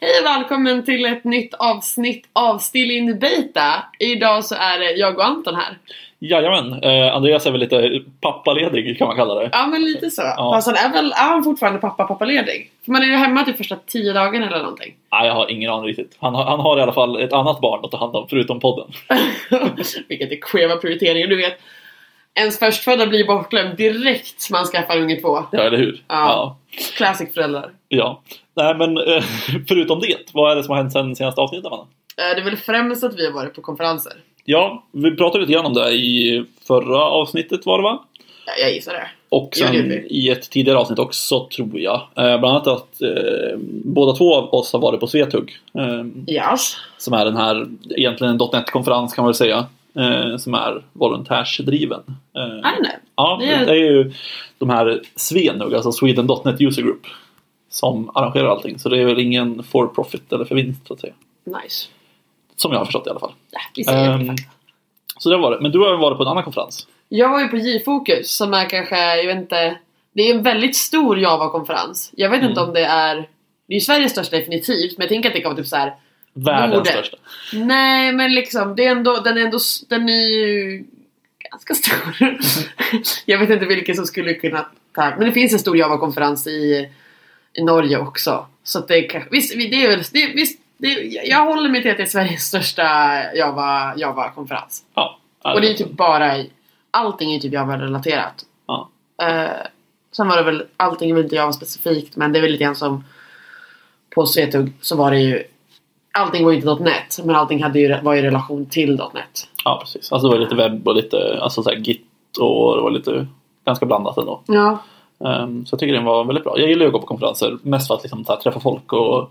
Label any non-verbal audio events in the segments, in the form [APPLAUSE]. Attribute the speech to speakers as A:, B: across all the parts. A: Hej välkommen till ett nytt avsnitt av Still in Beta. Idag så är det jag och Anton här.
B: Jajamän, eh, Andreas är väl lite pappaledig kan man kalla det.
A: Ja men lite så. Fast han är väl är han fortfarande pappa pappaledig? För man är ju hemma typ första tio dagarna eller någonting. [LAUGHS]
B: Nej, jag har ingen aning riktigt. Han, har- han har i alla fall ett annat barn att ta hand om förutom podden.
A: Vilket är skeva prioriteringar du vet. Ens förstfödda blir bortglömd direkt man skaffar unge två.
B: Ja, eller hur?
A: Ja. Classic föräldrar.
B: ja. ja. Nej, men eh, [LAUGHS] förutom det, vad är det som har hänt sen senaste avsnittet? Man?
A: Eh, Det är väl främst att vi har varit på konferenser.
B: Ja, vi pratade lite grann om det i förra avsnittet var det va?
A: Ja, jag gissar det.
B: Och
A: Ja,
B: sen
A: det gjorde vi.
B: i ett tidigare avsnitt också tror jag. Eh, bland annat att eh, båda två av oss har varit på Svetug. Eh,
A: Yes.
B: Som är den här, egentligen en .NET-konferens kan man väl säga. Eh, som är volontärsdriven. Eh,
A: Är det nu?
B: ja,
A: det är-
B: det är ju de här Svenug, alltså Sweden.NET User Group. Som arrangerar allting. Så det är väl ingen for profit eller för vinst så att säga.
A: Nice.
B: Som jag har förstått i alla fall.
A: Ja, vi säger det.
B: Ehm, så det var det. Men du har även varit på en annan konferens.
A: Jag var ju på J-fokus som är kanske, jag vet inte Det är en väldigt stor Java-konferens Jag vet inte
B: Mm.
A: om det är Det är ju Sveriges största definitivt men jag tänker att det kommer typ så här.
B: Världens
A: Norden.
B: största.
A: Nej men liksom det är ändå, den är ändå, s- den är ju ganska stor [LAUGHS] Jag vet inte vilken som skulle kunna ta Men det finns en stor Java-konferens i, i Norge också Så att det är kanske, visst, vi- det är väl, det, visst det, jag- jag håller mig till att det är Sveriges största Java- Java-konferens
B: Ja. ja,
A: och det är ju typ bara i, Allting är ju typ Java-relaterat.
B: Ja.
A: Eh, sen var det väl, allting är väl inte Java-specifikt men det är väl lite grann som på Swetug så var det ju Allting var ju inte .net men allting hade ju, var i relation till .net.
B: Ja, precis. Alltså det var lite webb och lite alltså så här git och det var lite ganska blandat ändå.
A: Ja.
B: Ehm, så jag tycker den var väldigt bra. Jag gillar ju att gå på konferenser mest för att liksom, så här, träffa folk och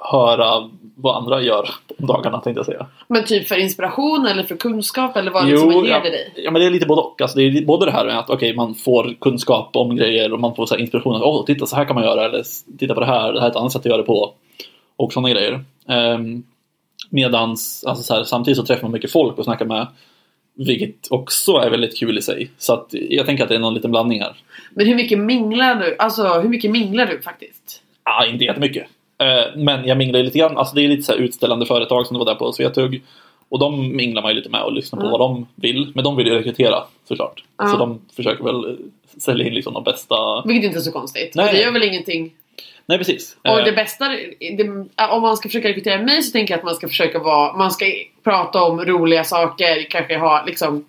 B: höra vad andra gör om dagarna tänkte jag säga.
A: Men typ för inspiration eller för kunskap eller vad är det som ger
B: ja,
A: dig?
B: ja, men det är lite både och. Alltså, det är li- både det här med att okej, man får kunskap om grejer och man får så här, inspiration. Att, Åh, titta så här kan man göra eller "S- titta på det här, det här är ett annat sätt att göra det på. Och sådana grejer. Ehm, medans, alltså, så här, samtidigt så träffar man mycket folk och snackar med vilket också är väldigt kul i sig. Så att, jag tänker att det är någon liten blandning här.
A: Men hur mycket minglar du? Alltså hur mycket minglar du faktiskt?
B: Ja, Ah, inte jättemycket. Eh, Men jag minglar ju lite grann. Alltså det är lite så här utställande företag som var där på Svetug. Och de minglar man ju lite med och lyssnar på
A: Ja.
B: vad de vill. Men de vill ju rekrytera såklart.
A: Ja.
B: Så de försöker väl eh, sälja in liksom de bästa.
A: Vilket inte är så konstigt.
B: Nej.
A: Och det gör väl ingenting.
B: Nej precis.
A: Och
B: Eh,
A: det bästa, det, om man ska försöka rekrytera mig så tänker jag att man ska försöka vara, man ska prata om roliga saker, kanske ha liksom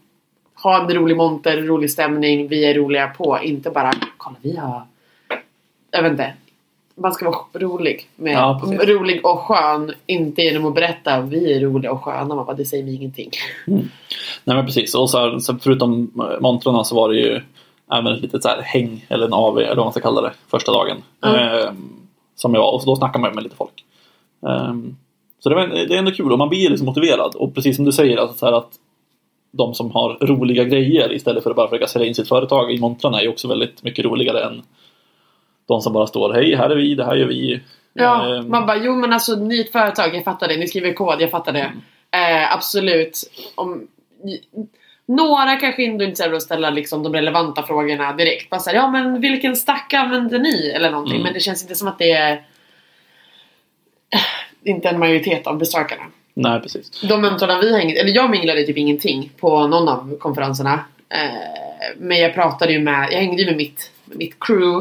A: ha en rolig monter, rolig stämning, vi är roliga på, inte bara kolla vi har, jag vet inte. Man ska vara rolig, med,
B: Ja, precis.
A: rolig och skön, inte genom att berätta vi är roliga och sköna, man bara, det säger mig ingenting.
B: Nej men precis. Och så här, så förutom eh, montrarna så var det ju även ett litet så här häng eller en AV eller vad man ska kalla det första dagen.
A: Ja.
B: Eh, Som jag var. Och så då snackar man ju med lite folk. Eh, Så det, var, det är ändå kul och man blir liksom motiverad. Och precis som du säger alltså så här att de som har roliga grejer istället för att bara försöka sälja in sitt företag i montrarna är ju också väldigt mycket roligare än de som bara står hej här är vi, det här gör vi.
A: Ja,
B: Eh,
A: man bara jo men alltså ni är ett företag, jag fattar det. Ni skriver kod, jag fattar det. Eh, absolut. Om, några kanske ändå inte är att ställa liksom, de relevanta frågorna direkt. Bara så här, ja men vilken stack använder ni? Eller någonting.
B: Mm.
A: Men det känns inte som att det är eh, inte en majoritet av besökarna.
B: Nej precis.
A: De mentorna vi hängde, eller jag minglade typ ingenting på någon av konferenserna. Eh, men jag pratade ju med, jag hängde ju med mitt, med mitt crew.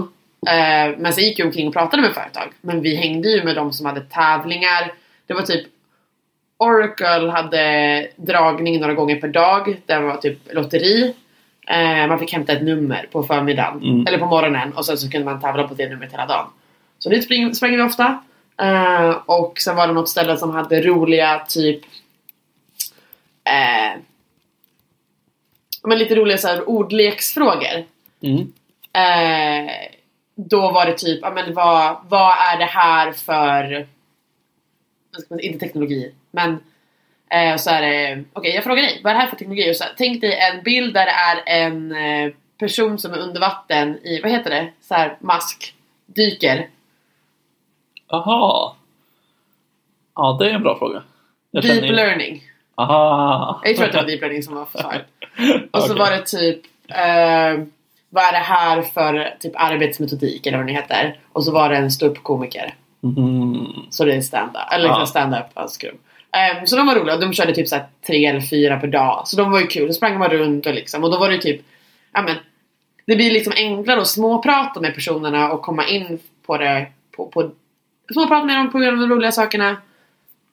A: Eh, men sen gick jag omkring och pratade med företag. Men vi hängde ju med de som hade tävlingar. Det var typ Oracle hade dragning några gånger per dag. Det var typ lotteri. Eh, man fick hämta ett nummer på förmiddagen.
B: Mm.
A: Eller på morgonen. Och sen så kunde man tävla på det numret hela dagen. Så dit spring, sprang vi ofta. Eh, och sen var det något ställe som hade roliga typ eh, men lite roliga så här, ordleksfrågor.
B: Mm.
A: Eh, då var det typ, ja, men vad, vad är det här för, vad ska man säga, inte teknologi, men eh, så är det, okej jag frågar dig, vad är det här för teknologi? Och så, här, tänk dig en bild där det är en eh, person som är under vatten i, vad heter det, så här, mask, dyker.
B: Aha. Ja, det är en bra fråga. Jag
A: deep
B: känner-
A: learning.
B: Aha.
A: Jag tror att det var deep learning som var svaret.
B: [LAUGHS]
A: Och så
B: Okej.
A: var det typ eh, Vad är det här för typ arbetsmetodik eller vad det nu heter? Och så var det en ståuppkomiker.
B: Mhm.
A: Så det är stand-up. Eller liksom
B: Ja.
A: stand-up alltså, kul. Ehm, så de var roliga. De körde typ så här tre eller fyra per dag. Så de var ju kul. Då sprang man runt och liksom. Och då var det typ... Ja men. Det blir liksom enklare att småprata med personerna och komma in på det. På, på, småprata med dem på grund av de roliga sakerna.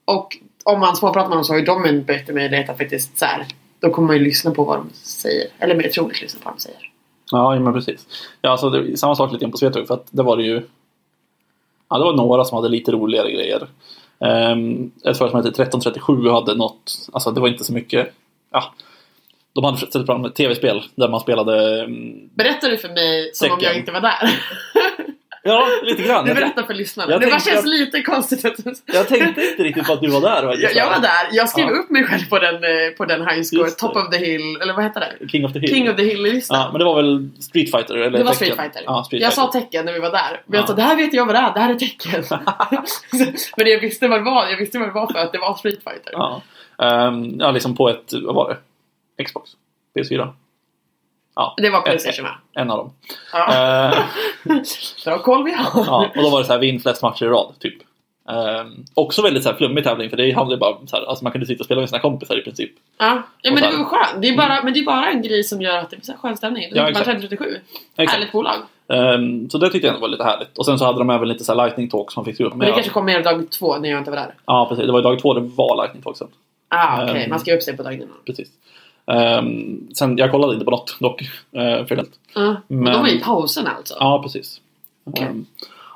A: Och om man småpratar med dem så har ju de en bättre möjlighet att faktiskt så här. Då kommer man ju lyssna på vad de säger. Eller mer troligt lyssna på vad de säger.
B: Ja, ja, men precis. Ja, alltså, det, samma sak lite grann på Svetrug, för att det var det ju... Ja, det var några som hade lite roligare grejer. Um, ett företag som hette 1337 hade något, alltså det var inte så mycket... Ja, de hade ställt fram ett tv-spel där man spelade... mm,
A: Berättar du för mig som om jag
B: Säcken.
A: inte var där?
B: Ja, lite grann.
A: Du
B: Jag,
A: berättar för lyssnarna.
B: jag
A: Det bara
B: tänkte
A: känns
B: att-
A: lite konstigt att
B: jag tänkte inte riktigt på att du var där. faktiskt.
A: Jag, jag var där. Jag skrev
B: Ja.
A: upp mig själv på den, eh, på den high score.
B: Just det.
A: Top of the hill. Eller vad heter det?
B: King of the Hill.
A: King of the hill-listan.
B: ja, men det var väl Street Fighter? Eller
A: det var
B: Tekken?
A: Street Fighter.
B: Ja, Street
A: jag
B: Fighter.
A: sa tecken när vi var där. Men jag sa
B: Ja.
A: det här vet jag vad det är. Det här är
B: [LAUGHS]
A: tecken. [LAUGHS] men jag visste vad det var. Jag visste vad det var för att det var Street Fighter.
B: Ja. Ehm, ja, liksom på ett, vad var det? Xbox? PS4? Ja,
A: Det var
B: ett-
A: Playstation va?
B: en av dem.
A: Ja.
B: Ehm,
A: Bra koll vi har.
B: ja, och då var det så här, vinn flest matcher i rad, typ. Ehm, också väldigt så här flummig tävling, för det handlade ju bara så här, alltså man kunde sitta och spela med sina kompisar i princip.
A: Ja. ja men
B: Och
A: det
B: sen-
A: var skönt. Det är bara, Men det är bara en grej som gör att det blir så här skön stämning.
B: Ja,
A: Ja, man
B: exakt.
A: 37.
B: Exakt.
A: Härligt bolag.
B: Ehm, så det tyckte jag ändå var lite härligt. Och sen så hade de även lite så här lightning talks man fick skriva upp.
A: Men det kanske kommer mer dag två när jag inte var där.
B: Ja, precis. Det var ju dag två det var lightning talksen.
A: Ah, okej.
B: Ehm.
A: Man skrev upp sig på dagen innan.
B: Precis. Ehm, sen, jag kollade inte på något dock. Uh, för det.
A: Ja. Men...
B: Men-
A: De var i pausen alltså.
B: Ja, precis.
A: Okej.
B: Ehm,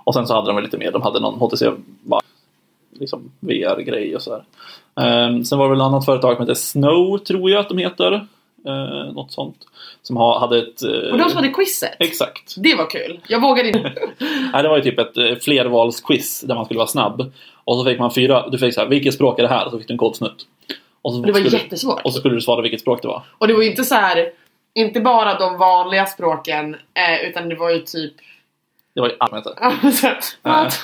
B: och sen så hade de väl lite mer. De hade någon HTC Va- liksom VR-grej och sådär. Um, sen var det väl ett annat företag som hette Snow, tror jag att de heter. Uh, något sånt. Som ha, hade ett... eh,
A: Och de som hade quizet.
B: Exakt.
A: Det var kul. Jag vågade inte.
B: Nej, det var ju typ ett eh, flervalsquiz där man skulle vara snabb. Och så fick man fyra... Du fick så här, vilket språk är det här? Och så fick du en kodsnutt. Och så
A: Det var
B: skulle,
A: jättesvårt.
B: och så skulle du svara vilket språk det var.
A: Och det var ju inte så här. Inte bara de vanliga språken. Eh, utan det var ju typ... [LAUGHS]
B: Det var ju allmänt.
A: Alltså, What?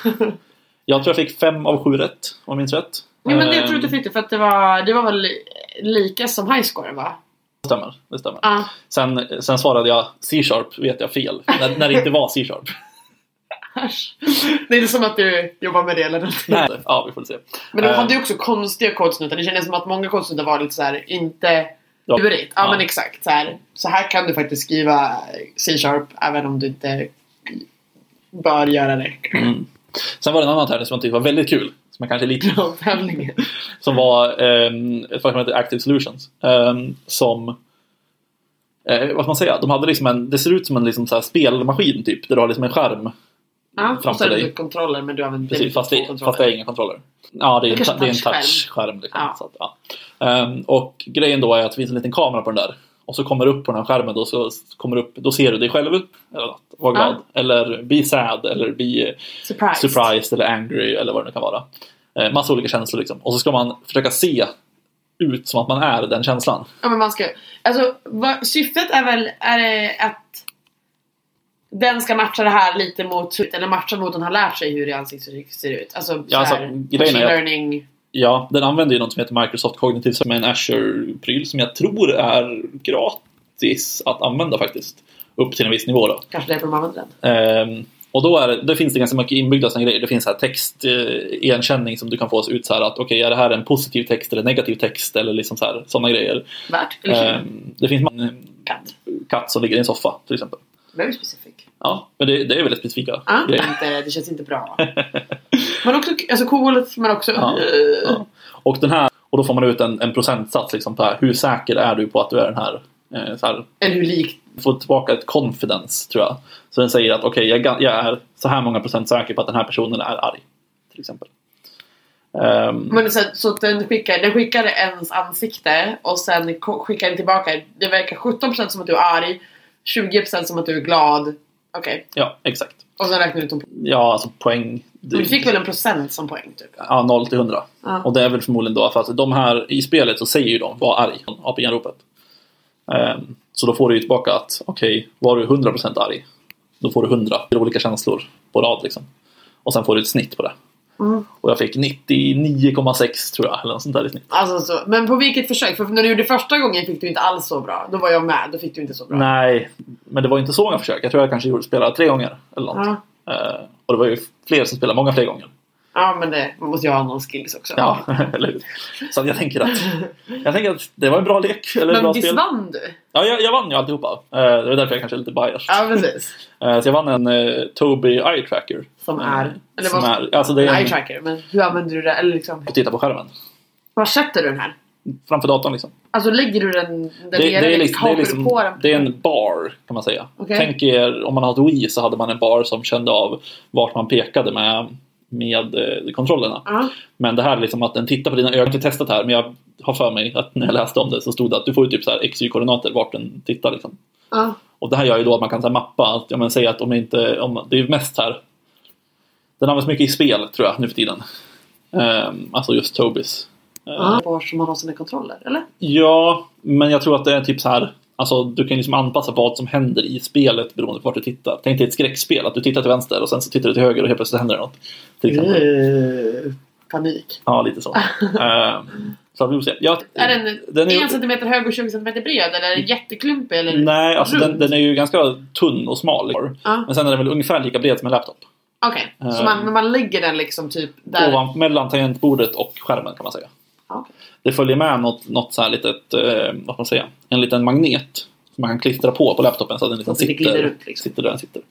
B: Jag tror jag fick fem av sju rätt, om jag minns rätt.
A: Nej men det tror jag du
B: Ehm,
A: fick det för att det var, det var väl li- lika som highscoren va? Ah,
B: Det stämmer. Det stämmer.
A: Ja.
B: Sen, sen svarade jag C-sharp, vet jag fel. När, när det inte var
A: [LAUGHS]
B: C-sharp.
A: äsch. det är inte som att du jobbar med det eller någonting.
B: Nej. Ja, vi får se.
A: Men de
B: Eh.
A: hade ju också konstiga kodsnuttar. Det kändes som att många kodsnuttar var lite så här inte
B: Ja.
A: lurigt. Ja,
B: Ja.
A: men exakt. Så här, så här kan du faktiskt skriva C-sharp även om du inte bör göra det. [LAUGHS]
B: Mm. Sen var det en annan tävling som jag tyckte var väldigt kul. Som jag kanske är lite...
A: Från tävlingen.
B: Som var ehm, ett företag som heter Active Solutions. ehm, som... Eh, vad ska man säga? De hade liksom en... Det ser ut som en liksom så här spelmaskin typ. Där du har liksom en skärm.
A: Ja, och så
B: Framför
A: är det
B: dig.
A: du kontroller men du använder
B: Precis, fast det,
A: kontroller.
B: fast det är inga kontroller. Ja, det är,
A: Det
B: en,
A: kanske
B: ta- det är en
A: touchskärm.
B: touchskärm. Liksom,
A: Ja.
B: så att, ja. Ehm, och grejen då är att det finns en liten kamera på den där. Och så kommer det upp på den här skärmen då, så kommer det upp, då ser du dig själv. Eller något. Var glad. Eller be sad. Eller be
A: Surprise.
B: surprised. Eller angry. Eller vad det nu kan vara. Uh, massa olika känslor liksom. Och så ska man försöka se ut som att man är den känslan.
A: Ja, men man ska, alltså, vad, syftet är väl är det att den ska matcha det här lite mot eller matcha mot den har lärt sig hur det ansiktsuttryck ser ut. Alltså,
B: Ja,
A: så här,
B: alltså, grejen är
A: machine
B: att-
A: learning.
B: Ja, den använder ju något som heter Microsoft Cognitive som är en Azure-pryl som jag tror är gratis att använda faktiskt. Upp till en viss nivå då.
A: Kanske därför de använder den.
B: Ehm, och då, är, det- då finns det ganska mycket inbyggda såna grejer. Det finns så här textigenkänning som du kan få oss ut så här att okej, är det här en positiv text eller negativ text eller liksom så här, sådana grejer.
A: Värt eller kul?
B: Ehm, det finns en
A: Katt.
B: katt som ligger i en soffa till exempel.
A: Very specific.
B: Ja, men det, det är väldigt specifika
A: Ja,
B: grejer.
A: inte, det känns inte
B: [LAUGHS]
A: bra. men också alltså, coolt men också...
B: Ja, ja. Och, den här, och då får man ut en, en procentsats liksom på här, hur säker är du på att du är den här, eh, så här
A: [LAUGHS] Eller hur likt.
B: få tillbaka ett confidence tror jag. Så den säger att okej, jag, ga- jag är så här många procent säker på att den här personen är arg. Till exempel. Ehm,
A: Men så, så att den skickar, den skickar ens ansikte och sen ko- skickar den tillbaka. Det verkar 17% som att du är arg, 20% som att du är glad. Okej.
B: Ja, exakt.
A: Och sen räknar du ut dem.
B: Ja, alltså poäng.
A: Men Du fick väl en procent som poäng typ?
B: Ja, 0 till 100.
A: Ja.
B: Och det är väl förmodligen då, för att de här i spelet så säger ju de var arg, apianropet. Um, så då får du ju tillbaka att okej, var du 100% arg, då får du 100 olika känslor på rad liksom. Och sen får du ett snitt på det.
A: Mm.
B: Och jag fick 99,6 tror jag, eller något sånt där i snitt.
A: Alltså, så. Men på vilket försök? För när du gjorde första gången fick du inte alls så bra. Då var jag med, då fick du inte så bra.
B: Nej, men det var ju inte så många försök. Jag tror jag kanske gjorde spelade tre gånger eller något. Ehm,
A: Ja.
B: Eh, och det var ju fler som spelade, många fler gånger.
A: Ja men det, man måste ju ha någon skills också.
B: Ja, [LAUGHS] eller hur? Så jag tänker att, jag tänker att det var en bra lek. Eller
A: men
B: bra
A: visst
B: spel.
A: vann du?
B: Ja, jag, jag vann ju alltihopa. Eh, Det var därför jag kanske är lite biased.
A: Ja precis.
B: Eh, Så jag vann en eh, Tobii Eye Tracker.
A: Som är... Eller
B: Mm. Som
A: vad,
B: är, alltså det
A: en
B: är
A: eye
B: en,
A: tracker. Men hur använder du det? Eller liksom,
B: att titta på skärmen.
A: var sätter du den här?
B: Framför datorn liksom.
A: Alltså lägger du den där
B: Det, det, är
A: eller
B: liksom, det,
A: hakar
B: är
A: du
B: liksom,
A: på den?
B: det är en bar kan man säga.
A: Okej.
B: Tänk er om man hade Wii så hade man en bar som kände av vart man pekade med, med eh, kontrollerna.
A: Ja.
B: Men det här är liksom att den tittar på dina ögon. Jag har inte testat här men jag har för mig att när jag läste om det så stod det att du får ju typ så här XY-koordinater vart den tittar liksom.
A: ja.
B: Och det här gör ju då att man kan så här mappa, att, ja, men, säga att om jag inte, om, det är ju mest här. Den används mycket i spel tror jag nu för tiden. Ehm, alltså just Tobis.
A: Ja. Var som man har sina kontroller, eller?
B: Ja, men jag tror att det är typ så här. Alltså du kan liksom anpassa vad som händer i spelet beroende på vart du tittar. Tänk dig ett skräckspel, att du tittar till vänster och sen så tittar du till höger och helt plötsligt händer det något. Till exempel.
A: Eh, Panik.
B: Ja, lite så. Ehm, så vi får se. Ja,
A: Är den,
B: Den är- Mm.
A: 1 cm hög och 20 cm bred? Eller är den jätteklumpig? Eller?
B: Nej, alltså den,
A: Runt.
B: den är ju ganska tunn och smal.
A: Ja.
B: Men sen är den väl ungefär lika bred som en laptop.
A: Okej, så
B: Eh.
A: man, men man lägger den liksom typ där?
B: Ovan, mellan tangentbordet och skärmen kan man säga.
A: Ja, okej.
B: Det följer med något, något så här litet, eh, vad ska man säga, en liten magnet som man kan klistra på på laptopen så att den liksom
A: att det glider
B: sitter,
A: upp, liksom.
B: sitter där den sitter.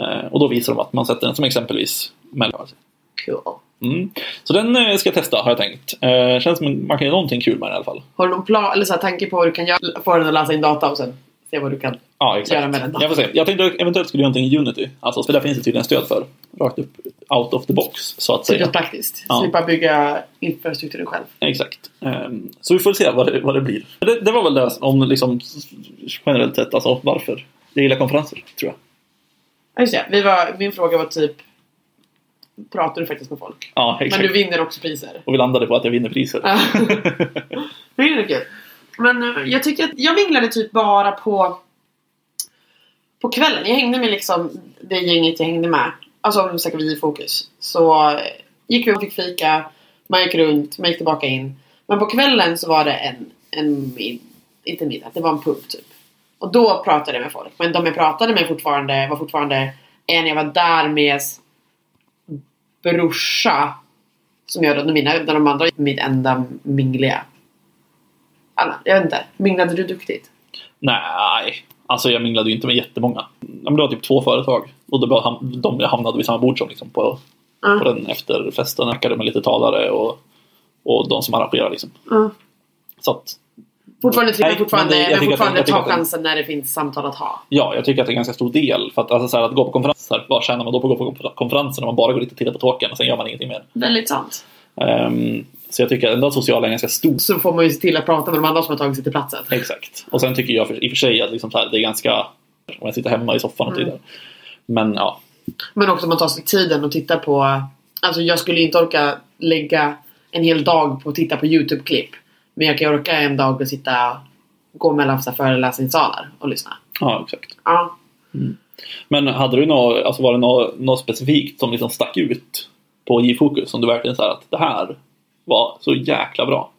B: Eh, och då visar de att man sätter den som exempelvis mellan.
A: Cool.
B: Mm. Så den eh, ska jag testa har jag tänkt. Eh, känns som en- man kan göra någonting kul med den i alla fall.
A: Har du någon plan, eller så här, tanke på vad du kan göra? Få den att läsa in data och sen se vad du kan.
B: Ja, exakt.
A: Göra med den då.
B: Jag, får se. jag tänkte eventuellt skulle göra någonting i Unity. Alltså, för där finns det tydligen stöd för. Rakt upp, out of the box, så att
A: Typ
B: säga.
A: att praktiskt.
B: Ja.
A: Slippa bygga infrastrukturen själv.
B: Exakt. Ehm, Så vi får se vad det, vad det blir. Det, det var väl det om liksom generellt sett, alltså varför. Jag gillar konferenser, tror jag.
A: Ja, Just det, vi var, min fråga var typ Pratar du faktiskt med folk?
B: Ja, exakt.
A: Men du vinner också
B: [LAUGHS]
A: priser.
B: Och vi landade på att jag vinner priset.
A: Ja.
B: [LAUGHS]
A: Det är kul. Men eh, jag tycker att jag vinglade typ bara på på kvällen. Jag hängde med liksom det gänget jag hängde med. Alltså om vi snackar vi i fokus. Så eh, gick vi och fick fika. Man gick runt, man gick tillbaka in. Men på kvällen så var det en, en mid, inte middag, det var en pub typ. Och då pratade jag med folk. Men de jag pratade med fortfarande var fortfarande en jag var där med brorsa. Som jag under mina, där de andra mitt enda mingliga. Alla, jag vet inte. Minglade du duktigt?
B: Nej, alltså jag minglade ju inte med jättemånga. Ja, men Det var typ två företag. Och det var ham- de jag hamnade vid samma bord som liksom, på,
A: Ja.
B: på den efterfesten. Jag Snackade med lite talare och, och de som arrangerar liksom.
A: Ja.
B: Så att,
A: Fortfarande tycker
B: Nej,
A: jag fortfarande,
B: men det-
A: men,
B: jag tycker att-
A: fortfarande
B: jag tycker
A: ta
B: att det-
A: chansen när det finns samtal att ha.
B: ja, jag tycker att det är en ganska stor del. För att, alltså, så här, att gå på konferenser, vad tjänar man då på att gå på konferenser när man bara går dit och tittar på tåken och sen gör man ingenting mer?
A: Väldigt sant.
B: Ehm, så jag tycker ändå att sociala är ganska stor.
A: Så får man ju se till att prata med de andra som har tagit sig till platsen.
B: Exakt. Och sen tycker jag för, i och för sig att liksom så här, det är ganska... Om jag sitter hemma i soffan och tittar. Men ja,
A: Men också att man tar sig tiden och tittar på... Alltså jag skulle inte orka lägga en hel dag på att titta på YouTube-klipp. Men jag kan orka en dag och sitta... Gå mellan så här föreläsningssalar och lyssna.
B: ja exakt.
A: Ja.
B: Men hade du något, alltså var det något, något specifikt som liksom stack ut på J-fokus som du verkligen sa att det här var så jäkla bra?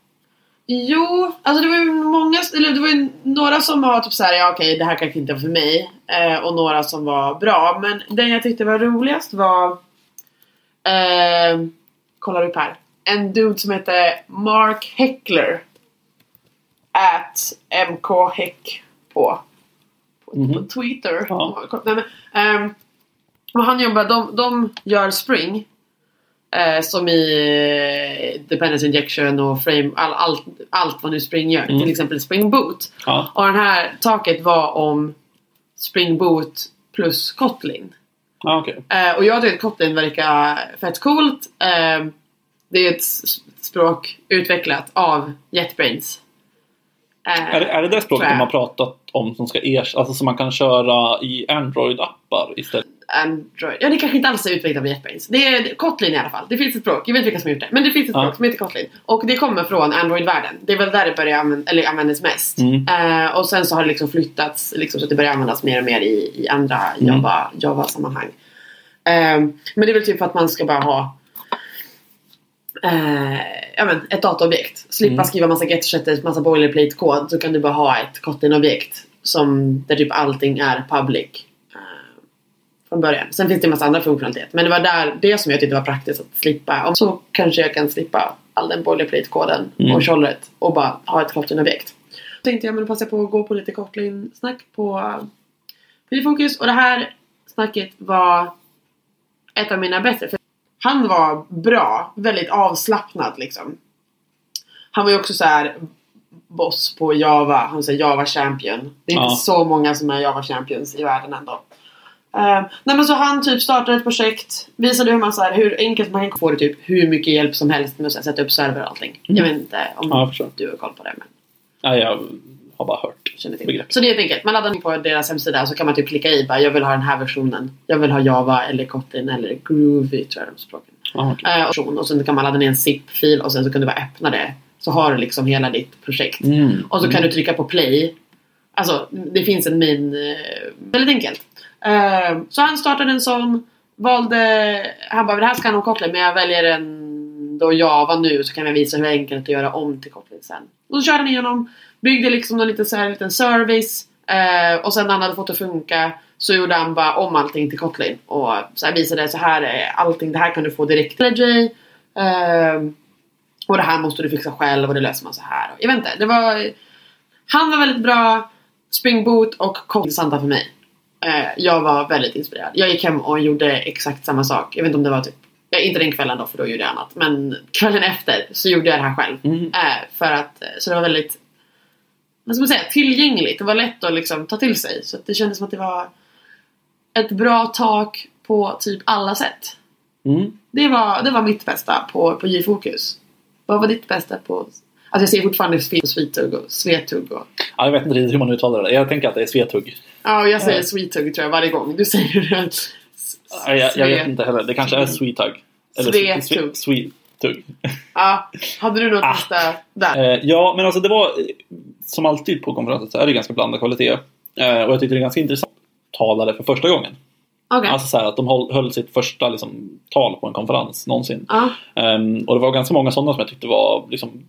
A: Jo, alltså det var ju många, eller det var ju några som var typ såhär, ja okej det här kanske inte var för mig. Eh, och några som var bra. Men den jag tyckte var roligast var, eh, kollar upp här. En dude som hette Mark Heckler. At MK Heck på, på, på
B: Mhm.
A: Twitter.
B: Ja.
A: Nej, men, ehm, och han jobbar, de, de gör spring. Eh, som i eh, Dependence Injection och Frame, all, allt, allt vad nu Spring gör.
B: Mm.
A: Till exempel Spring Boot.
B: Ja,
A: Och den här taket var om Spring Boot plus Kotlin.
B: ja okej.
A: Eh, och jag tycker att Kotlin verkar fett coolt. Eh, det är ett s- språk utvecklat av JetBrains. Eh,
B: Är, det- är det det språket
A: Trä.
B: de har pratat om som ska ers- alltså som man kan köra i Android-appar istället?
A: Android. Ja, det kanske inte alls är utvecklat av JetBrains. Det är Kotlin i alla fall. Det finns ett språk. Jag vet inte vilka som har gjort det. Men det finns ett
B: Ja.
A: språk som heter Kotlin. Och det kommer från Android-världen. Det är väl där det börjar använ- eller användas mest.
B: Mm.
A: Eh, och sen så har det liksom flyttats liksom, så att det börjar användas mer och mer i, i andra
B: Mm.
A: Java- Java-sammanhang. Ehm, men det är väl typ för att man ska bara ha eh, ja, men, ett dataobjekt. Slippa
B: Mm.
A: skriva massa get-setters, massa boilerplate-kod. Så kan du bara ha ett Kotlin-objekt som, där typ allting är public. Eh, från början. Sen finns det en massa andra funktionalitet. Men det var där, det som jag tyckte var praktiskt att slippa. Om så kanske jag kan slippa all den boilerplate-koden
B: Mm.
A: och tjollret och bara ha ett kotlin-objekt. Då tänkte jag men passa på att gå på lite kotlin-snack på Pifokus. Och det här snacket var ett av mina bättre. För han var bra, väldigt avslappnad liksom. Han var ju också så här boss på Java, han säger Java champion. Det är inte
B: Ja.
A: så många som är Java champions i världen ändå. Uh, nej men så han typ startade ett projekt, visade hur man så här, hur enkelt man kan få det typ hur mycket hjälp som helst med att så här sätta upp server och allting. Jag vet inte om
B: Mm. Ja, jag förstår.
A: du har koll på det men
B: Nej, jag har bara hört.
A: känner till.
B: Begrepp.
A: Så det är helt enkelt, man laddar ner på deras hemsida och så kan man typ klicka i bara jag vill ha den här versionen. Jag vill ha Java eller Kotlin eller Groovy tror jag de språken.
B: Ah, okej.
A: Eh, och version. och sen kan man ladda ner en zip-fil och sen så kan du bara öppna det. Så har du liksom hela ditt projekt.
B: Mm.
A: Och så kan
B: Mm.
A: du trycka på play. Alltså, det finns en min... eh, Väldigt enkelt. Eh, Så han startade en sån. Valde... Han bara, det här ska han om Kotlin, men jag väljer en då Java nu så kan jag visa hur enkelt det är att göra om till Kotlin sen. Och så körde han igenom. Byggde liksom någon liten, så här, liten service. eh, Och sen när han hade fått det att funka så gjorde han bara om allting till Kotlin. Och så här visade så här är allting, det här kan du få direkt. Ledger. Eh, och det här måste du fixa själv och det löser man så här. Jag vet inte, det var... Han var väldigt bra. Spring Boot och kom intressanta för mig. Eh, jag var väldigt inspirerad. Jag gick hem och gjorde exakt samma sak. Jag vet inte om det var typ... Ja, inte den kvällen då för då gjorde jag annat. Men kvällen efter så gjorde jag det här själv.
B: Mm.
A: Eh, för att, eh, så det var väldigt... Vad ska man säga? Tillgängligt. Det var lätt att liksom ta till sig. Så att det kändes som att det var ett bra tak på typ alla sätt.
B: Mm.
A: Det var, det var mitt bästa på, på J-fokus. Vad var ditt bästa på... Alltså jag säger fortfarande sp- Svetugg och Svetugg och...
B: Ja, jag vet inte riktigt hur man uttalar det. Jag tänker att det är Svetugg.
A: Ja, och jag säger
B: Ja.
A: Svetugg tror jag varje gång. Du säger det. S-
B: Eh. Ja, jag, jag vet
A: Svet-
B: inte heller. Det kanske är Sweetug. Sve-
A: Svetugg.
B: Sve- Svetugg.
A: Ja, hade du något
B: Ah.
A: bästa där?
B: Eh, ja, men alltså det var eh, som alltid på konferensen så är det ganska blandad kvalitet. Eh, och jag tyckte det är ganska intressant. Talare för första gången.
A: Okej.
B: Alltså så här att de höll, höll sitt första liksom, tal på en konferens någonsin.
A: Ja,
B: Ehm, och det var ganska många sådana som jag tyckte var liksom,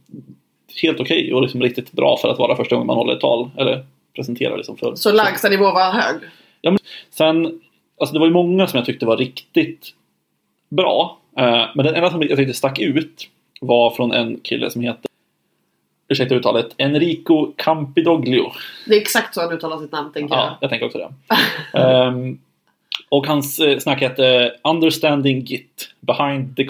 B: helt okej och liksom, riktigt bra för att vara första gången man håller ett tal. Eller presenterar liksom, för.
A: så lägsta nivå var hög?
B: Sen, alltså det var ju många som jag tyckte var riktigt bra. Eh, men den enda som jag tyckte stack ut var från en kille som heter, ursäkta uttalet, Enrico Campidoglio.
A: Det är exakt så han uttalar sitt namn tänker
B: Ja, jag tänker också det. Ehm, och hans eh, snack hette Understanding Git Behind the Com-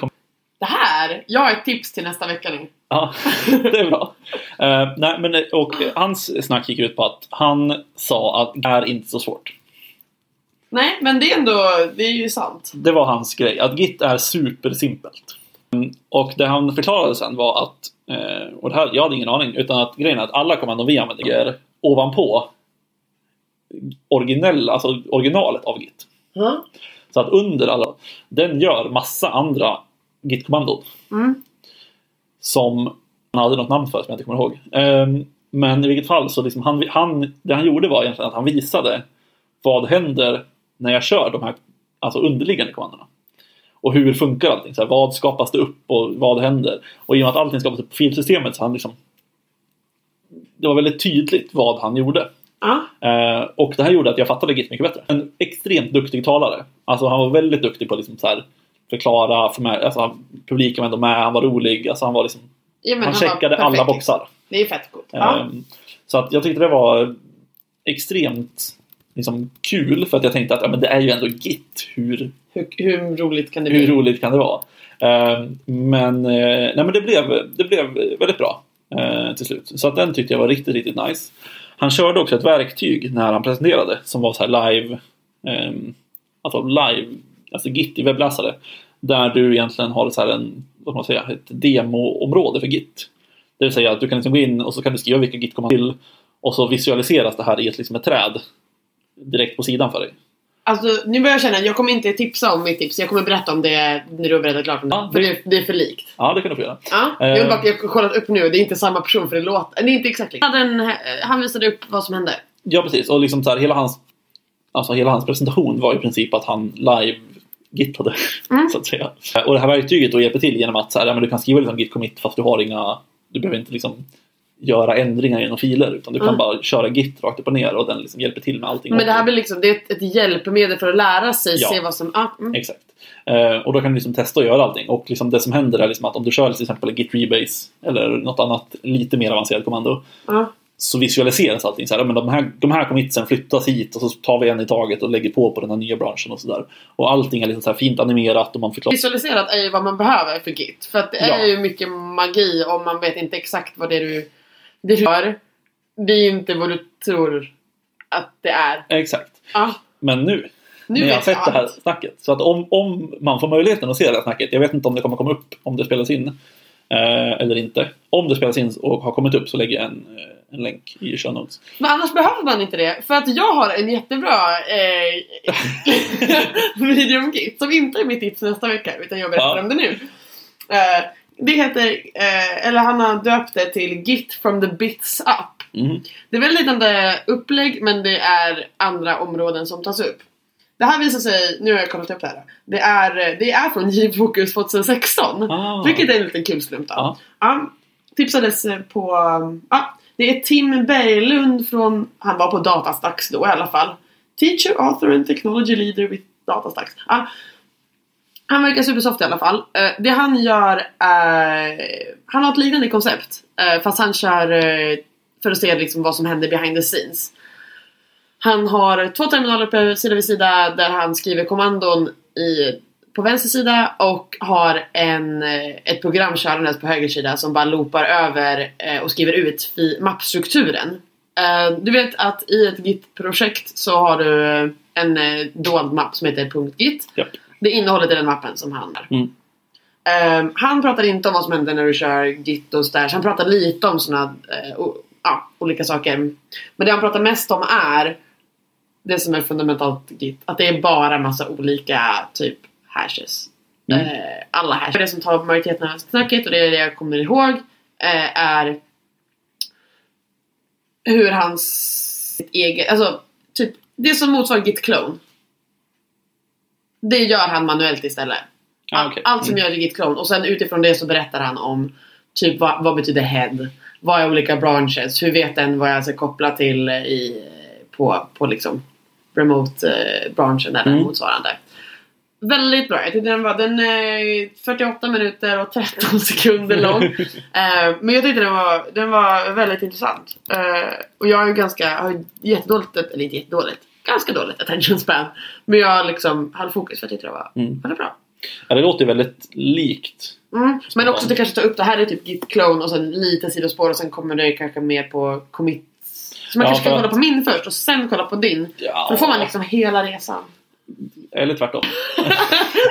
A: jag. Det här! Jag har ett tips till nästa vecka nu.
B: Ja, [LAUGHS] det är bra. Eh, nej, men, eh, och eh, hans snack gick ut på att han sa att det är inte så svårt.
A: Nej, men det är ändå... Det är ju sant.
B: Det var hans grej, att Git är supersimpelt. Mm, Och det han förklarade sen var att, eh, och det här, jag hade ingen aning, utan att grejen är att alla kommandon vi använder är ovanpå originell, alltså originalet av Git.
A: Mm.
B: Så att under alla, den gör massa andra Git-kommandon
A: Mm.
B: som han hade något namn för som jag inte kommer ihåg. Ehm, men i vilket fall så liksom han, han, det han gjorde var egentligen att han visade vad händer när jag kör de här alltså underliggande kommandona. Och hur funkar allting? Så här, vad skapas det upp och vad händer? Och i och med att allting skapas upp på filsystemet så han liksom det var väldigt tydligt vad han gjorde.
A: Ja.
B: Eh, och det här gjorde att jag fattade Git mycket bättre. En extremt duktig talare. Alltså han var väldigt duktig på att liksom så här förklara, för mig, alltså, han- publiken var ändå med, han var rolig, alltså han var liksom
A: Ja, men
B: han
A: var
B: checkade
A: perfekt.
B: alla boxar.
A: Det är fett coolt. Ja.
B: Ehm, Så att jag tyckte det var extremt liksom, kul för att jag tänkte att ja, men det är ju ändå Git. Hur,
A: Hur, hur roligt kan det bli?
B: hur roligt kan det vara? Ehm, Men, eh, nej, men det, blev, det blev väldigt bra eh, till slut. Så att den tyckte jag var riktigt, riktigt nice. Han körde också ett verktyg när han presenterade som var så här live, ehm, alltså live, alltså Git i webbläsare. Där du egentligen har så här en, vad ska man säga, ett demoområde för Git. Det vill säga att du kan liksom gå in och så kan du skriva vilka Git kommer till och så visualiseras det här i ett, liksom ett träd direkt på sidan för dig.
A: Alltså nu börjar jag känna, jag kommer inte tipsa om mitt tips. Jag kommer berätta om det när du har berättat klart om det.
B: Ja,
A: För det, det är för likt.
B: Ja, det kan du få göra.
A: Ja, jag
B: Eh.
A: har bara jag har kollat upp nu. Det är inte samma person för det låter... Det är inte exakt likt. Han, hade en, eh, han visade upp vad som hände.
B: Ja, precis. Och liksom så här, hela, hans, alltså hela hans presentation var i princip att han live-gittade.
A: Mm.
B: [LAUGHS] Så att säga. Och det här verktyget då hjälper till genom att så här, ja, men du kan skriva liksom git commit fast du har inga... Du behöver inte liksom göra ändringar genom filer utan du kan
A: Mm.
B: bara köra Git rakt upp och ner och den liksom hjälper till med allting.
A: Men det här blir liksom, det är ett, ett hjälpmedel för att lära sig
B: Ja.
A: se vad som... Ah, mm.
B: Exakt. Eh, och då kan du liksom testa och göra allting. Och liksom det som händer är liksom att om du kör till exempel Git Rebase eller något annat lite mer avancerat kommando
A: ah.
B: så visualiseras allting så här. "Ja, Men de, här, de här kom hit, sen flyttas hit och så tar vi en i taget och lägger på på den här nya branschen och sådär. Och allting är liksom så här fint animerat och man förklarar.
A: Visualiserat är ju vad man behöver för Git. För att det
B: Ja.
A: är ju mycket magi om man vet inte exakt vad det är du, det du gör. Det är ju inte vad du tror att det är.
B: Exakt.
A: Ja,
B: Men nu,
A: nu
B: när jag har
A: vet jag
B: sett det här
A: allt.
B: snacket. Så att om, om man får möjligheten att se det här snacket. Jag vet inte om det kommer komma upp om det spelas in. Eh, eller inte. Om det spelas in och har kommit upp så lägger jag en, eh, en länk i show notes.
A: Men annars behöver man inte det. För att jag har en jättebra eh, video om Git som inte är mitt tips nästa vecka utan jag berättar
B: Ja.
A: om det nu. Eh, det heter, eh, eller han har döpt det till Git from the bits up.
B: Mhm.
A: Det är väl liknande upplägg men det är andra områden som tas upp. Det här visar sig, nu har jag kollat upp det här. Det är, eh, det är från J-fokus 2016.
B: Ah.
A: Vilket är en liten kul slump då.
B: Ja.
A: Ja, tipsades eh, på... um, Ja, det är Tim Berglund från... Han var på Datastax då i alla fall. Teacher, author and technology leader with Datastax. Ja. Han verkar supersoft i alla fall. Eh, Det han gör är... Han har ett liknande koncept. eh, Fast han kör eh, för att se liksom vad som händer behind the scenes. Han har två terminaler på sida vid sida där han skriver kommandon i, på vänster sida och har en, eh, ett program körandes på höger sida som bara loopar över eh, och skriver ut fi- mappstrukturen. Eh, Du vet att i ett Git-projekt så har du eh, en eh, dold mapp som heter .git.
B: Japp.
A: Det är innehållet i den mappen som han är.
B: Mm.
A: Ehm, han pratar inte om vad som händer när du kör Git och stash. Han pratar lite om såna eh, o- ja, olika saker. Men det han pratar mest om är det som är fundamentalt Git. Att det är bara massa olika typ hashes.
B: Mm.
A: Eh, alla hashes. Det som tar majoriteten av snacket och det är det jag kommer ihåg eh, är hur hans eget, alltså typ det som motsvarar Git Clone. Det gör han manuellt istället.
B: Ah, okej.
A: Allt som
B: Mm.
A: gör till Git Clone och sen utifrån det så berättar han om typ vad, vad betyder head? Vad är olika branches? Hur vet den vad jag ska koppla till eh, i, på, på liksom remote-branschen eller
B: Mm.
A: motsvarande. Väldigt bra. Jag tyckte den var den är 48 minuter och 13 [LAUGHS] sekunder lång. Eh, men jag tyckte den var, den var väldigt intressant. Eh, och jag är ju ganska, har ju jättedåligt, eller inte jättedåligt, ganska dåligt attention span. Men jag liksom hade fokus för jag tyckte det var,
B: Mm.
A: var det bra.
B: Ja, det låter ju väldigt likt.
A: Mm. Men också att det kanske tar upp det här är typ git clone och sen lite sidospår och sen kommer det kanske mer på commit. Så man
B: Ja,
A: kanske
B: för
A: kan kolla
B: att-
A: på min först och sen kolla på din.
B: Ja.
A: För då får man liksom hela
B: [LAUGHS]
A: resan.
B: Eller tvärtom.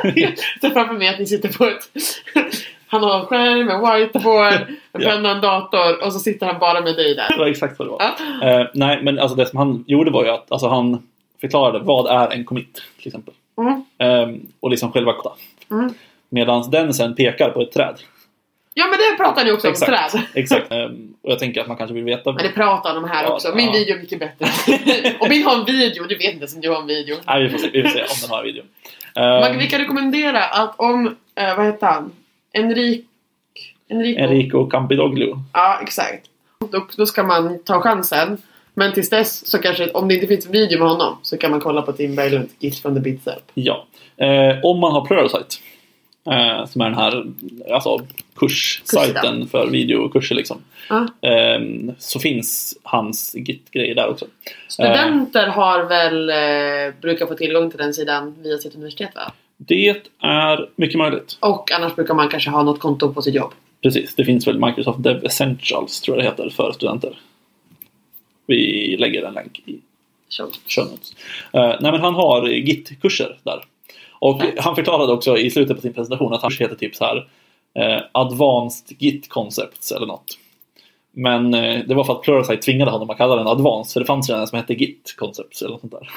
A: Jag ser framför mig att ni sitter på ett... Han har en skärm, en whiteboard, en
B: Ja.
A: penna, en dator och så sitter han bara med dig
B: Det
A: där.
B: var exakt vad det var.
A: Ja.
B: Eh, nej, men alltså det som han gjorde var ju att alltså, han förklarade vad är en commit till exempel.
A: Mm.
B: Ehm, och liksom själva koda.
A: Mm.
B: Medan den sen pekar på ett träd.
A: Ja men det pratar ni också om
B: Exakt.
A: träd. [LAUGHS]
B: Exakt. Ehm, och jag tänker att man kanske vill veta.
A: Men det pratar de här
B: Ja,
A: också. Min
B: ja.
A: video är mycket bättre. och min har en video, du vet inte som du har en video.
B: Nej, vi får se, vi får se om den har en video.
A: Man, vi
B: Um,
A: kan rekommendera att om, eh, vad heter han? Enrik... Enrico.
B: Enrico Campidoglio.
A: Ja, exakt. Då, då ska man ta chansen. Men tills dess så kanske, om det inte finns video med honom så kan man kolla på Tim Berglund, Git from the Bits Up.
B: Ja. Eh, om man har Pluralsight. Eh, som är den här alltså, kurssajten för videokurser liksom.
A: Ja.
B: Ehm, så finns hans Git-grejer där också.
A: Studenter har väl, eh, brukar få tillgång till den sidan via sitt universitet va?
B: Det är mycket möjligt.
A: Och annars brukar man kanske ha något konto på sitt jobb.
B: Precis, det finns väl Microsoft Dev Essentials tror jag det heter för studenter. Vi lägger en länk i
A: Så.
B: show notes. Eh, nej men han har Git-kurser där. Och han förklarade också i slutet på sin presentation att han heter typ så här eh, Advanced Git Concepts eller något. Men eh, det var för att Pluralsight tvingade honom att kalla den Advanced för det fanns redan en som hette Git Concepts eller något sånt där.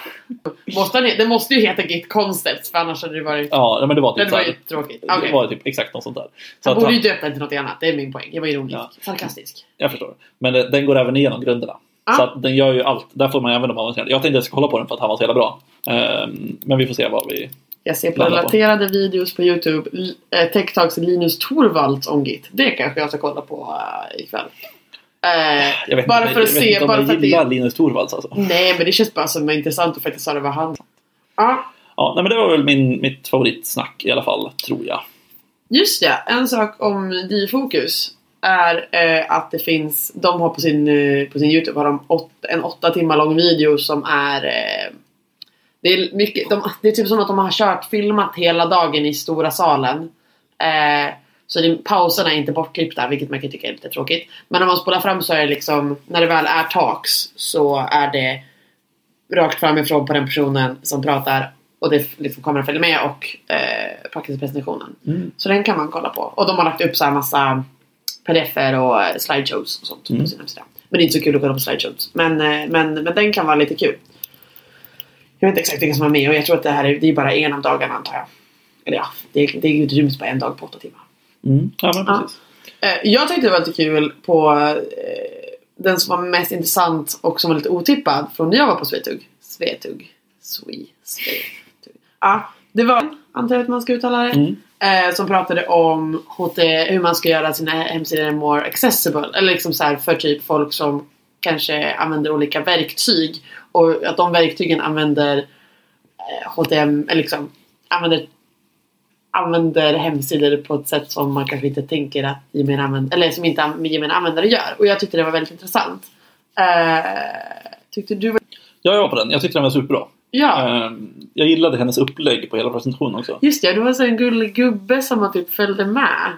A: Måste den, det måste ju heta Git Concepts för annars hade det varit...
B: Ja, men det var typ
A: det
B: så
A: var
B: här,
A: ju tråkigt.
B: Det
A: Okej.
B: var typ exakt något sånt där. Så
A: han
B: att
A: borde ju
B: han,
A: döpa den till något annat, det är min poäng. Jag var ironisk.
B: Ja.
A: Sarkastisk.
B: jag förstår. Men det, den går även igenom grunderna.
A: Ah.
B: Så att den gör ju allt. Där får man även de avancerade. Jag tänkte att jag ska kolla på den för att han var så jävla bra. Ehm, men vi får se vad vi...
A: Jag ser på
B: Blanda på.
A: relaterade videos på Youtube. L- eh, Techtalks Linus Torvalds om Git. Det kanske jag ska kolla på eh, ikväll. Eh,
B: Jag vet
A: Bara
B: inte,
A: för att
B: jag vet
A: se,
B: inte om
A: bara för
B: jag
A: att det-
B: gillar Linus Torvalds alltså.
A: nej men det känns bara som intressant att faktiskt höra vad han Ja,
B: Ja, nej, men det var väl min, mitt favoritsnack i alla fall, tror jag.
A: just ja. En sak om DI-fokus är eh, att det finns, de har på sin, eh, på sin Youtube har de åt, en åtta timmar lång video som är eh, det är, mycket, de, det är typ som att de har kört filmat hela dagen i stora salen. Eh, så det, pauserna är inte bortklippta, vilket man kan tycka är lite tråkigt. Men om man spolar fram så är det liksom, när det väl är talks så är det rakt framifrån på den personen som pratar och det är liksom kameran följer med och eh, faktiskt presentationen.
B: Mm.
A: Så den kan man kolla på. Och de har lagt upp så här massa pdf-er och eh, slideshows och sånt
B: Mm.
A: på sin hemsida. Men det är inte så kul att kolla på slideshows. Men, eh, men, men den kan vara lite kul. Jag vet inte exakt vilka som var med och jag tror att det här är, det är bara en av dagarna antar jag. Eller ja, det, det ryms bara en dag på åtta timmar.
B: Mm. Ja, men
A: Ja.
B: precis.
A: Eh, Jag tyckte det var lite kul på eh, den som var mest intressant och som var lite otippad från när jag var på Svetug. Svetug. Swe, Svetug. Ja, det var antar jag att man ska uttala det.
B: Mm.
A: Eh, som pratade om HT, hur man ska göra sina hemsidor more accessible. Eller liksom så här för typ folk som kanske använder olika verktyg. Och att de verktygen använder eh, HTM, eller liksom använder använder hemsidor på ett sätt som man kanske inte tänker att gemene användare, eller som inte an- gemene användare gör. Och jag tyckte det var väldigt intressant. Eh, tyckte du var...
B: Ja, jag var på den. Jag tyckte den var superbra.
A: Ja,
B: Ehm, Jag gillade hennes upplägg på hela presentationen också.
A: just det. Du var så en gullig gubbe som man typ följde med.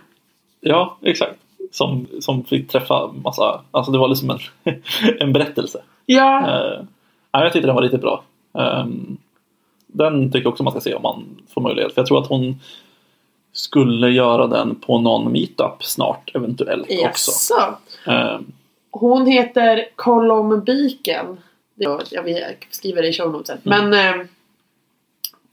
B: Ja, exakt. Som, som fick träffa massa... Alltså det var liksom en, [LAUGHS] en berättelse.
A: Ja,
B: Eh, nej, jag tyckte den var riktigt bra. Ehm, den tycker jag också man ska se om man får möjlighet. För jag tror att hon skulle göra den på någon meetup snart eventuellt Eh, också.
A: jaså.
B: Ehm,
A: Eh, Hon heter Kolombiken. Det- Jag vi skriver det i show notes sen.
B: Mm.
A: Men eh,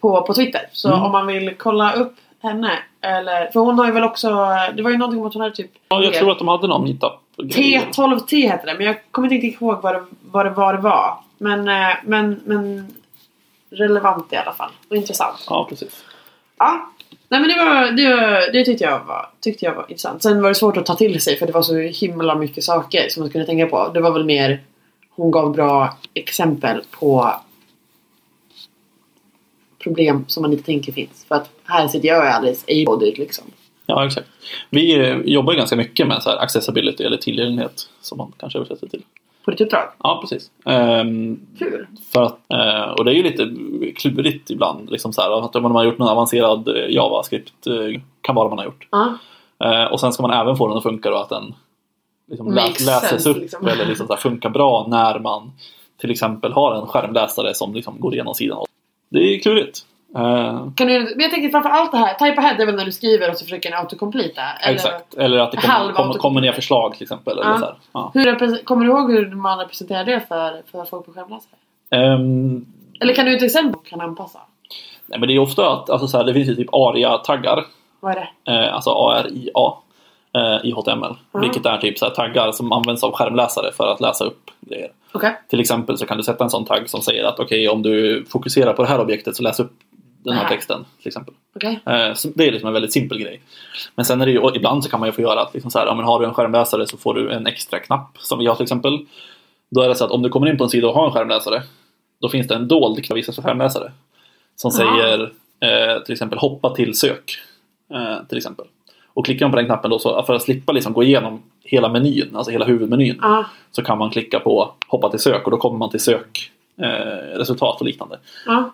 A: på, på Twitter. Så
B: Mm.
A: om man vill kolla upp henne. Eller, för hon har ju väl också... Det var ju någonting om att hon hade typ...
B: ja, jag tror att de hade någon meetup.
A: T12T hette det. Men jag kommer inte riktigt ihåg vad det, vad det, vad det var. Men, eh, men, men relevant i alla fall. Och intressant.
B: Ja, precis.
A: Ja. Nej men det, var, det, det tyckte, jag var, tyckte jag var intressant. Sen var det svårt att ta till sig för det var så himla mycket saker som man kunde tänka på. Det var väl mer hon gav bra exempel på problem som man inte tänker finns. För att här sitter jag och är alldeles able-bodied liksom.
B: Ja, exakt. Vi eh, jobbar ju ganska mycket med så här accessibility eller tillgänglighet som man kanske översätter till.
A: På ditt uppdrag.
B: Ja, precis. Ehm,
A: Kul!
B: För att, eh, och det är ju lite klurigt ibland. Liksom så här, att om man har gjort någon avancerad eh, JavaScript, eh, kan vara man har gjort.
A: Ja.
B: Eh, Och sen ska man även få den att funka och att den liksom lä-
A: Makes
B: läses
A: sense,
B: upp
A: liksom.
B: eller liksom så här, funkar bra när man till exempel har en skärmläsare som liksom går igenom sidan. Det är klurigt. Eh,
A: Kan du, men jag tänker framför allt det här, type ahead är väl när du skriver och så försöker den autocompleta? Eller
B: Exakt. Eller att det kommer,
A: halva
B: kommer,
A: autocomplete.
B: kommer ner förslag till exempel. Eller
A: Ja.
B: så här. Ja.
A: Hur, repre- kommer du ihåg hur man representerar det för, för folk på skärmläsare?
B: Ehm,
A: Eller kan du till exempel kan anpassa?
B: nej, men det är ofta att alltså, så här, det finns ju typ aria-taggar
A: Vad är det?
B: eh, alltså ARIA eh, i HTML. Vilket är typ så här taggar som används av skärmläsare för att läsa upp grejer.
A: Okej.
B: Till exempel så kan du sätta en sån tagg som säger att okej om du fokuserar på det här objektet så läs upp den här
A: Ah.
B: texten. Till exempel.
A: Okej.
B: Eh, så det är liksom en väldigt simpel grej. Men sen är det ju, och ibland så kan man ju få göra att liksom så här, ja, men har du en skärmläsare så får du en extra knapp som vi har till exempel. Då är det så att om du kommer in på en sida och har en skärmläsare då finns det en dold knapp visas för skärmläsare. Som
A: Ah.
B: säger eh, till exempel hoppa till sök. Eh, till exempel. Och klickar man på den knappen då så, för att slippa liksom gå igenom hela menyn, alltså hela huvudmenyn
A: Ja.
B: så kan man klicka på hoppa till sök och då kommer man till sök eh, resultat och liknande.
A: Ja.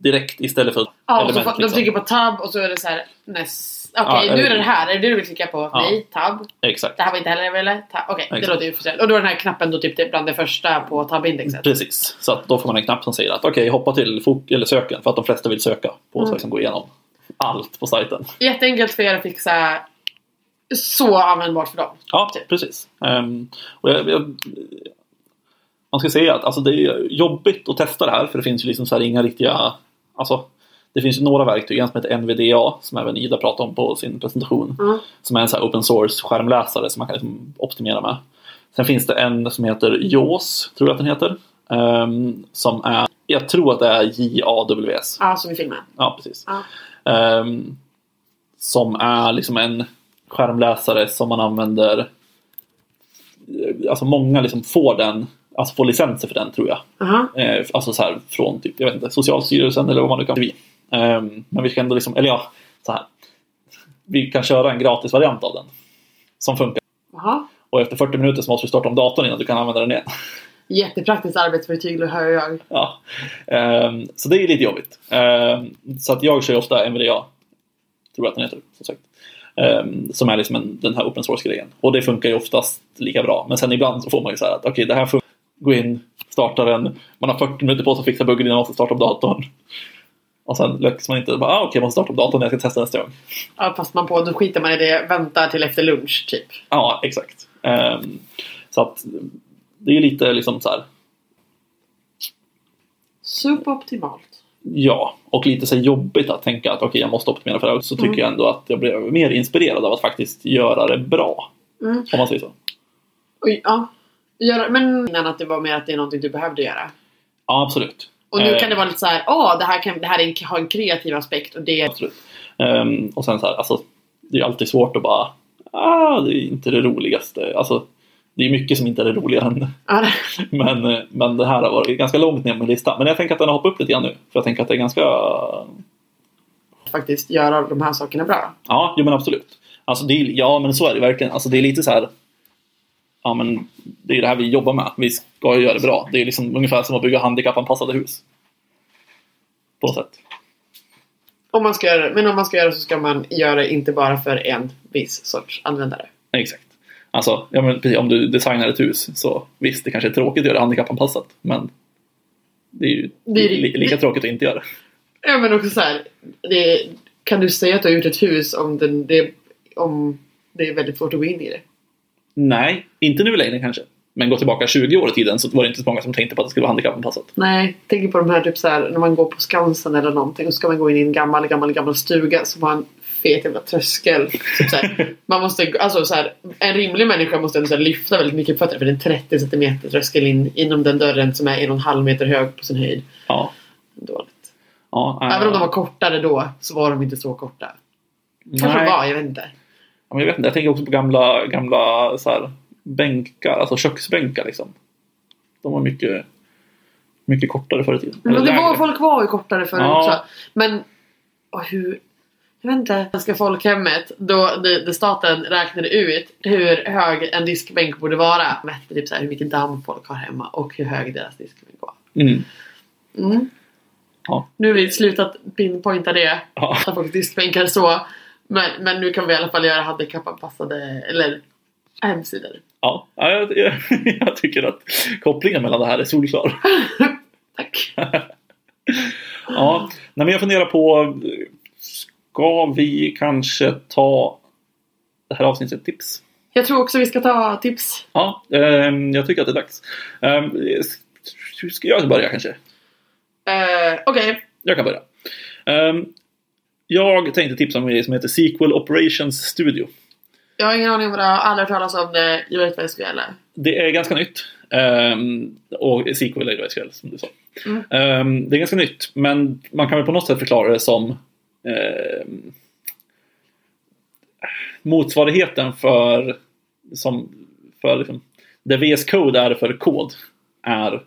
B: Direkt istället för
A: Ja, och så får, de
B: liksom.
A: trycker på tab och så är det så här näst. Okej,
B: Ja,
A: nu
B: eller-
A: är det det här. Är det det du vill klicka på?
B: Ja.
A: Nej, tab.
B: Exakt,
A: Det här var inte heller det jag ville. Ta- Okej, det
B: Exakt.
A: låter ju förståeligt. Och då är den här knappen då typ det- bland det första på tab-indexet.
B: precis. Så att då får man en knapp som säger att okej, hoppa till fok- eller söken för att de flesta vill söka på
A: Mm.
B: mm. som går igenom allt på sajten.
A: Jätteenkelt för er att fixa. Så användbart för dem.
B: Ja,
A: Typ.
B: precis. Ehm, och jag, jag, man ska säga att alltså, det är jobbigt att testa det här för det finns ju liksom så här inga riktiga... Alltså, det finns ju några verktyg, en som heter NVDA som även Ida pratade om på sin presentation.
A: Mm.
B: Som är en så här open source skärmläsare som man kan liksom optimera med. Sen finns det en som heter JAWS, tror jag att den heter. ehm, som är, jag tror att det är JAWS.
A: Ja, som i filmen.
B: Ja, precis.
A: Ja.
B: Ehm, som är liksom en skärmläsare som man använder alltså många liksom får den, alltså får licenser för den tror jag.
A: Aha.
B: Eh, alltså så här från typ, jag vet inte, Socialstyrelsen eller vad man nu kan vi. Ehm, men vi ska ändå liksom, eller ja, så här. Vi kan köra en gratis variant av den. Som funkar.
A: Aha.
B: Och efter 40 minuter så måste du starta om datorn innan du kan använda den igen.
A: Jättepraktiskt arbetsverktyg, det hör jag.
B: Ja. Ehm, så det är ju lite jobbigt. Ehm, så att jag kör ju ofta MVDA. Tror jag att den heter, som sagt. Ehm, som är liksom en, den här open source-grejen. Och det funkar ju oftast lika bra. Men sen ibland så får man ju så här att okej, det här funkar. Gå in, starta den. Man har 40 minuter på sig att fixa buggen innan man måste starta om datorn. Och sen lyckas man inte. Bara, Ah, okej, jag måste starta om datorn när jag ska testa nästa gång.
A: Ja, fast man på, då skiter man i det, väntar till efter lunch typ.
B: Ja, exakt. Ehm, så att det är lite liksom så här.
A: Superoptimalt.
B: Ja, och lite så här jobbigt att tänka att okej, jag måste optimera för det här. Så
A: Mm.
B: tycker jag ändå att jag blev mer inspirerad av att faktiskt göra det bra.
A: Mm.
B: Om man säger så.
A: Oj, ja. Göra, men innan att det var mer att det är någonting du behövde göra.
B: Ja, absolut.
A: Och nu
B: Eh,
A: kan det vara lite så här, åh, det här, kan, det här är en, har en kreativ aspekt och det är...
B: Absolut. Ehm, och sen så här, alltså, det är ju alltid svårt att bara, ah, det är inte det roligaste. Alltså, det är mycket som inte är det roliga än. [LAUGHS]
A: Ja, det-
B: Men, eh, men det här har varit ganska långt ner på min lista. Men jag tänker att den har hoppat upp lite grann nu. För jag tänker att det är ganska
A: faktiskt göra de här sakerna bra.
B: Ja, jo men absolut. Alltså, det är, ja, men så är det verkligen. Alltså, det är lite så här... Ja, men det är det här vi jobbar med. Vi ska ju göra det bra. Det är liksom ungefär som att bygga handikappanpassade hus. På något sätt.
A: Om man ska göra, men om man ska göra så ska man göra det inte bara för en viss sorts användare.
B: Exakt. Alltså, ja, men precis, om du designar ett hus så visst, det kanske är tråkigt att göra det handikappanpassat. Men det är ju
A: Det är-
B: li, lika tråkigt att inte göra det.
A: Ja men också så här, det, kan du säga att du har gjort ett hus om, den, det, om det är väldigt svårt att gå in i det?
B: Nej, inte nu längre kanske. Men gå tillbaka 20 år i tiden så var det inte så många som tänkte på att det skulle vara handikappanpassat.
A: Nej, tänk på de här typ så här, när man går på Skansen eller någonting och ska man gå in i en gammal, gammal, gammal stuga som har en fet jävla tröskel. Typ så
B: [LAUGHS]
A: här, man måste, alltså så här, en rimlig människa måste ändå så här lyfta väldigt mycket på fötterna för det är en 30 centimeter tröskel in, inom den dörren som är en och en halv meter hög på sin höjd.
B: Ja.
A: Dåligt.
B: ja
A: Även om de
B: eh,
A: var kortare då så var de inte så korta. Kanske de
B: nej.
A: var, jag vet inte.
B: Ja, men jag vet inte, jag tänker också på gamla, gamla så här, bänkar, alltså köksbänkar liksom. De var mycket, mycket kortare förr i tiden.
A: Men
B: Eller
A: det var,
B: lägre.
A: folk var ju kortare förr
B: Ja.
A: också. Men och hur... Jag vet inte. Svenska folkhemmet, då det, det staten räknade ut hur hög en diskbänk borde vara. Mätte typ så här hur mycket damm folk har hemma och hur hög deras diskbänk var.
B: Mm.
A: Mm.
B: Ja.
A: Nu har vi slutat pinpointa det.
B: Ja.
A: Att folk diskbänkar så. Men, men nu kan vi i alla fall göra handikappanpassade eller hemsidor.
B: Ja, ja, jag, jag, [LAUGHS] jag tycker att kopplingen mellan det här är solklar.
A: Tack.
B: Ja, nej, men jag funderar på, ska vi kanske ta det här avsnittet tips?
A: Jag tror också vi ska ta tips.
B: Ja, ehm, jag tycker att det är dags. Ehm, s- ska jag börja kanske?
A: Eh, Okej.
B: Jag kan börja. Ehm, jag tänkte tipsa om en grej som heter Sequel Operations Studio.
A: Jag har ingen aning om vad det är. Jag har aldrig hört talas om eh, det. Jag vet vad jag ska göra.
B: Det är ganska nytt. Ehm, och Sequel är ju SQL som du sa.
A: Mm.
B: Ehm, det är ganska nytt, men man kan väl på något sätt förklara det som ehm, motsvarigheten för, som, för liksom, det VS Code är för kod är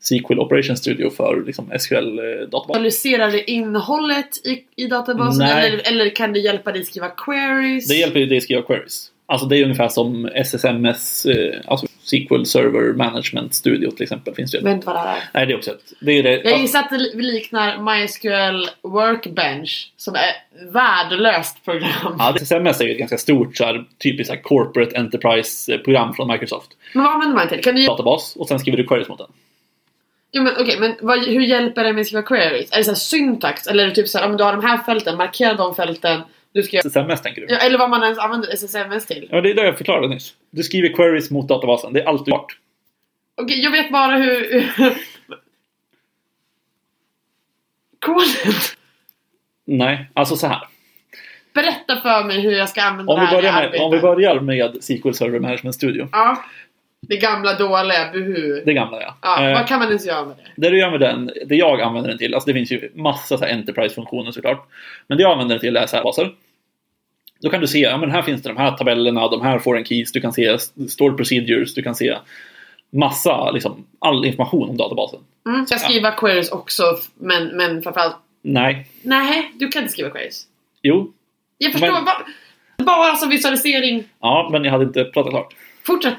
B: Sequel Operations Studio för liksom, SQL-databas.
A: Analyserar det innehållet i, i databasen?
B: Nej.
A: Eller, eller kan det hjälpa dig skriva queries?
B: Det hjälper ju dig att skriva queries. Alltså det är ungefär som SSMS, eh, alltså SQL Server Management Studio till exempel. Finns det.
A: Jag vet inte vad det här är.
B: Nej, det är också ett. Det är det.
A: Jag gissar att det li- liknar MySQL Workbench som är ett värdelöst program.
B: Ja, SSMS är ju ett ganska stort så här, typiskt så här, corporate enterprise-program från Microsoft.
A: Men vad använder man till? Kan du,
B: Databas och sen skriver du queries mot den.
A: jo, men, okej, men vad, hur hjälper det med att skriva queries? Är det så här syntax? Eller är det typ så här, om du har de här fälten, markera de fälten. Du ska,
B: SSMS tänker du?
A: ja, eller vad man ens använder SSMS till.
B: Ja, det är det jag förklarade nyss. Du skriver queries mot databasen. Det är alltid klart.
A: Okej, jag vet bara hur... [LAUGHS] Kolen!
B: Nej, alltså så här.
A: Berätta för mig hur jag ska använda
B: Om
A: det
B: vi
A: här i
B: börjar med,
A: arbetet.
B: om vi börjar med SQL Server Management Studio.
A: Ja. Det gamla dåliga, buhu.
B: Det gamla ja.
A: Ja,
B: Eh,
A: vad kan man ens göra med det?
B: Det du gör med den, det jag använder den till, alltså det finns ju massa så här enterprise-funktioner såklart. Men det jag använder den till är så här baser. Då kan du se, ja men här finns det de här tabellerna, de här foreign keys, du kan se stored procedures, du kan se massa, liksom, all information om databasen.
A: Mm, ska jag skriva queries också f- men, men framförallt...
B: Nej,
A: Nej, du kan inte skriva queries.
B: jo,
A: Jag förstår.
B: Men-
A: va- Bara som visualisering.
B: ja, men jag hade inte pratat klart.
A: Fortsätt.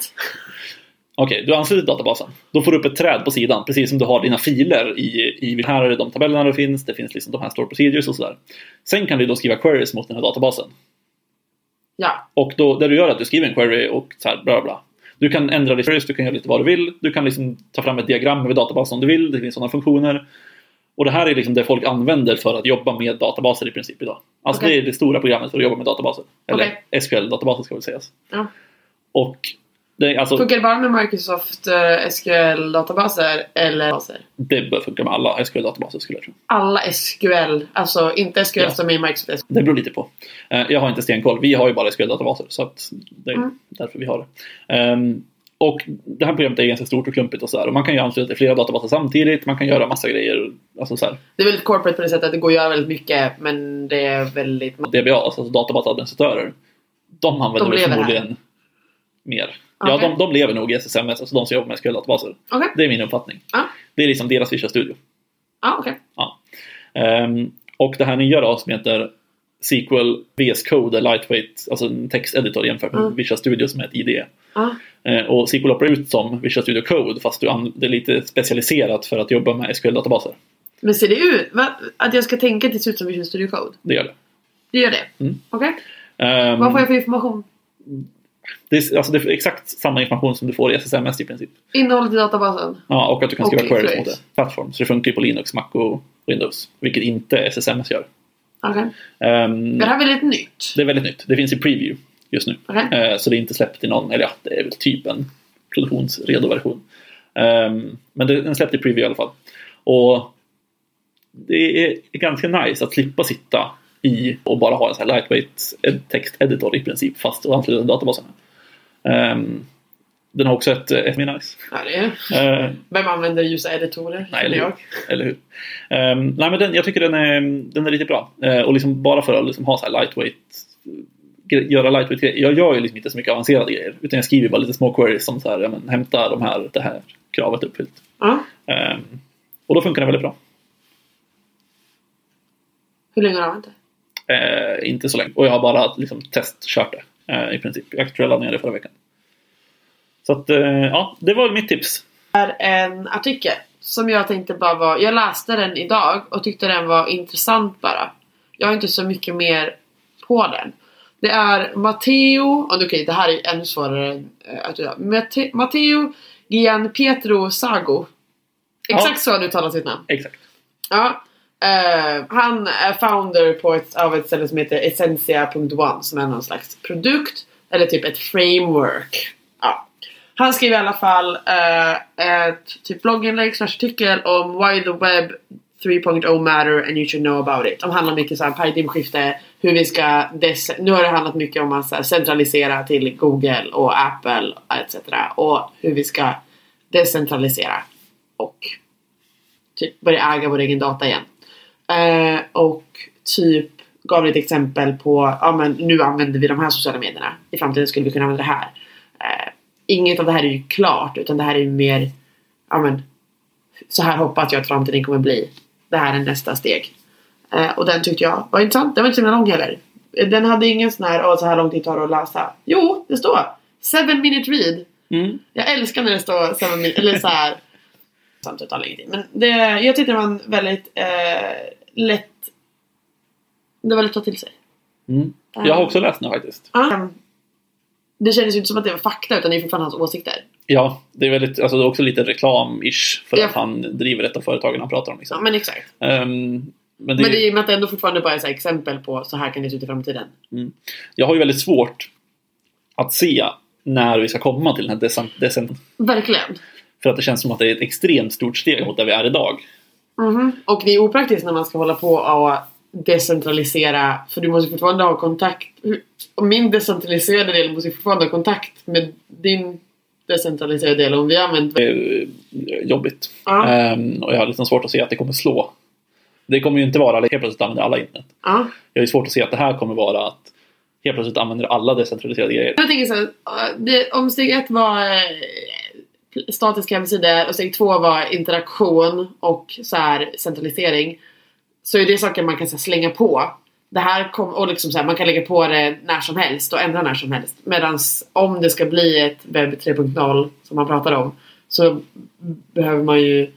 B: Okej, du ansluter till databasen. Då får du upp ett träd på sidan, precis som du har dina filer i, i här är de tabellerna det finns, det finns liksom de här store procedures och sådär. Sen kan du då skriva queries mot den här databasen.
A: Ja.
B: Och då, det du gör är att du skriver en query och så här, bla bla, bla. Du kan ändra ditt queries, du kan göra lite vad du vill. Du kan liksom ta fram ett diagram över databasen om du vill. Det finns sådana funktioner. Och det här är liksom det folk använder för att jobba med databaser i princip idag. Alltså
A: Okej.
B: det är det stora programmet för att jobba med databaser. Eller SQL-databaser ska väl sägas.
A: ja.
B: Och det, är alltså,
A: Funkar det bara med Microsoft eh, SQL-databaser eller baser?
B: det bör funka med alla SQL-databaser skulle jag tro.
A: Alla SQL, alltså inte SQL
B: Ja.
A: som är Microsoft SQL.
B: Det beror lite på. Eh, Jag har inte stenkoll. Vi har ju bara SQL-databaser så att det är
A: Mm.
B: därför vi har det. Ehm, och det här programmet är ganska stort och klumpigt och sådär. Och man kan ju ansluta till flera databaser samtidigt. Man kan göra massa grejer. Alltså så här,
A: Det är väldigt corporate på det sättet att det går att göra väldigt mycket men det är väldigt...
B: DBA, alltså databasadministratörer. De använder
A: De
B: väl
A: lever här.
B: förmodligen mer. Ja,
A: Okej.
B: de, de lever nog i SSMS, alltså de som jobbar med SQL-databaser.
A: Okej.
B: Det är min uppfattning.
A: Ja.
B: Det är liksom deras Visual Studio.
A: Ja, okej.
B: Ehm, och det här nya då som heter SQL VS Code är lightweight, alltså en texteditor jämfört med
A: Mm.
B: Visual Studio som är ett IDE.
A: Ja.
B: Eh, Och SQL opererar ut som Visual Studio Code fast du an- det är lite specialiserat för att jobba med SQL-databaser.
A: Men ser det ut... Va? Att jag ska tänka att det ser ut som Visual Studio Code?
B: Det gör det.
A: Det gör det?
B: Mm.
A: Okej.
B: Ehm,
A: Vad får jag för information?
B: det, är, alltså, det är exakt samma information som du får i SSMS i princip.
A: Innehållet i databasen?
B: Ja, och att du kan
A: Och
B: skriva queries mot
A: queries.
B: det. Plattform. Så det funkar ju på Linux, Mac och Windows. Vilket inte SSMS gör.
A: Okej.
B: Ehm,
A: Det här är väldigt nytt.
B: det är väldigt nytt. Det finns i preview just nu.
A: Okej.
B: Eh, Så det är inte släppt i någon, eller ja, det är väl typ en produktionsredo version. Ehm, Men det- den släppte i preview i alla fall. Och det är ganska nice att slippa sitta i och bara ha en sån här lightweight ed- texteditor i princip, fast och ansluta till databasen. Ehm, Den har också ett, ett mer nice.
A: Ja, det är...
B: Eh,
A: Vem använder ljusa editorer?
B: Nej,
A: det
B: eller
A: är
B: hur? Eller hur? Ehm, nej, men den, jag tycker den är, den är riktigt bra. Eh, och liksom bara för att liksom ha så här lightweight, gre- göra lightweight grejer. Jag gör ju liksom inte så mycket avancerade grejer. Utan jag skriver bara lite små queries som så här, ja, men, hämta de här, det här kravet uppfyllt.
A: Ja.
B: Ehm, och då funkar den väldigt bra.
A: Hur länge har du använt det?
B: Eh, inte så länge. Och jag har bara liksom, testkört det eh, i princip. Jag tror jag laddade ner det förra veckan. Så att, eh, ja, det var väl mitt tips.
A: är en artikel som jag tänkte bara var, jag läste den idag och tyckte den var intressant bara. Jag har inte så mycket mer på den. Det är Matteo, och okej det här är ännu svårare eh, att göra. Mate- Matteo Gian Pietro Sago. Exakt
B: Ja.
A: så han uttalar sitt namn.
B: Exakt.
A: Ja. Eh, han är founder på ett, av ett ställe som heter Essentia.one som är någon slags produkt eller typ ett framework. Ja. Han skrev i alla fall eh, ett typ blogginlägg slash artikel om why the web 3.0 matter and you should know about it. De handlar mycket så här paradigmskifte, hur vi ska... Des- nu har det handlat mycket om att så här, centralisera till Google och Apple etc. Och hur vi ska decentralisera och typ börja äga vår egen data igen. Eh, och typ gav ett exempel på, ja men nu använder vi de här sociala medierna. I framtiden skulle vi kunna använda det här. Eh, inget av det här är ju klart utan det här är ju mer, ja men så här hoppas jag att framtiden kommer bli. Det här är nästa steg. Eh, och den tyckte jag var intressant. Den var inte så himla lång heller. Eh, Den hade ingen sån här, åh så här lång tid tar det att läsa. Jo, det står! Seven minute read.
B: Mm.
A: Jag älskar när det står så här, med min- eller så här. Samtidigt tar det ingenting. Men det, jag tyckte det var en väldigt eh, lätt... Det var lätt att ta till sig.
B: Mm. Jag har också läst den faktiskt.
A: Ah. Det kändes ju inte som att det var fakta utan det är fortfarande hans åsikter.
B: Ja, det är, väldigt, alltså det är också lite reklam-ish för
A: Ja.
B: att han driver ett av företagen han pratar om. Liksom.
A: Ja men exakt.
B: Ehm, men det,
A: Men det är ju med att det ändå fortfarande bara är så här exempel på så här kan det se ut i framtiden.
B: Jag har ju väldigt svårt att se när vi ska komma till den här decent,
A: Verkligen.
B: För att det känns som att det är ett extremt stort steg mot där vi är idag.
A: Mhm. Och det är opraktiskt när man ska hålla på och decentralisera för du måste fortfarande ha kontakt. hur- Och min decentraliserade del måste ju fortfarande ha kontakt med din decentraliserade del om vi använder
B: Det är ju eh, jobbigt.
A: Ja.
B: Ehm, och jag har liksom svårt att se att det kommer slå. Det kommer ju inte vara att helt plötsligt använder alla internet.
A: Ja,
B: Jag har ju svårt att se att det här kommer vara att helt plötsligt använder alla decentraliserade grejer.
A: Jag tänker så här, eh, det, om steg ett var eh, statiska hemsidor och steg två var interaktion och så här, centralisering. Så är det saker man kan så här, slänga på. Det här kom, och liksom så här, man kan lägga på det när som helst och ändra när som helst. Medan om det ska bli ett webb 3.0 som man pratar om så behöver man ju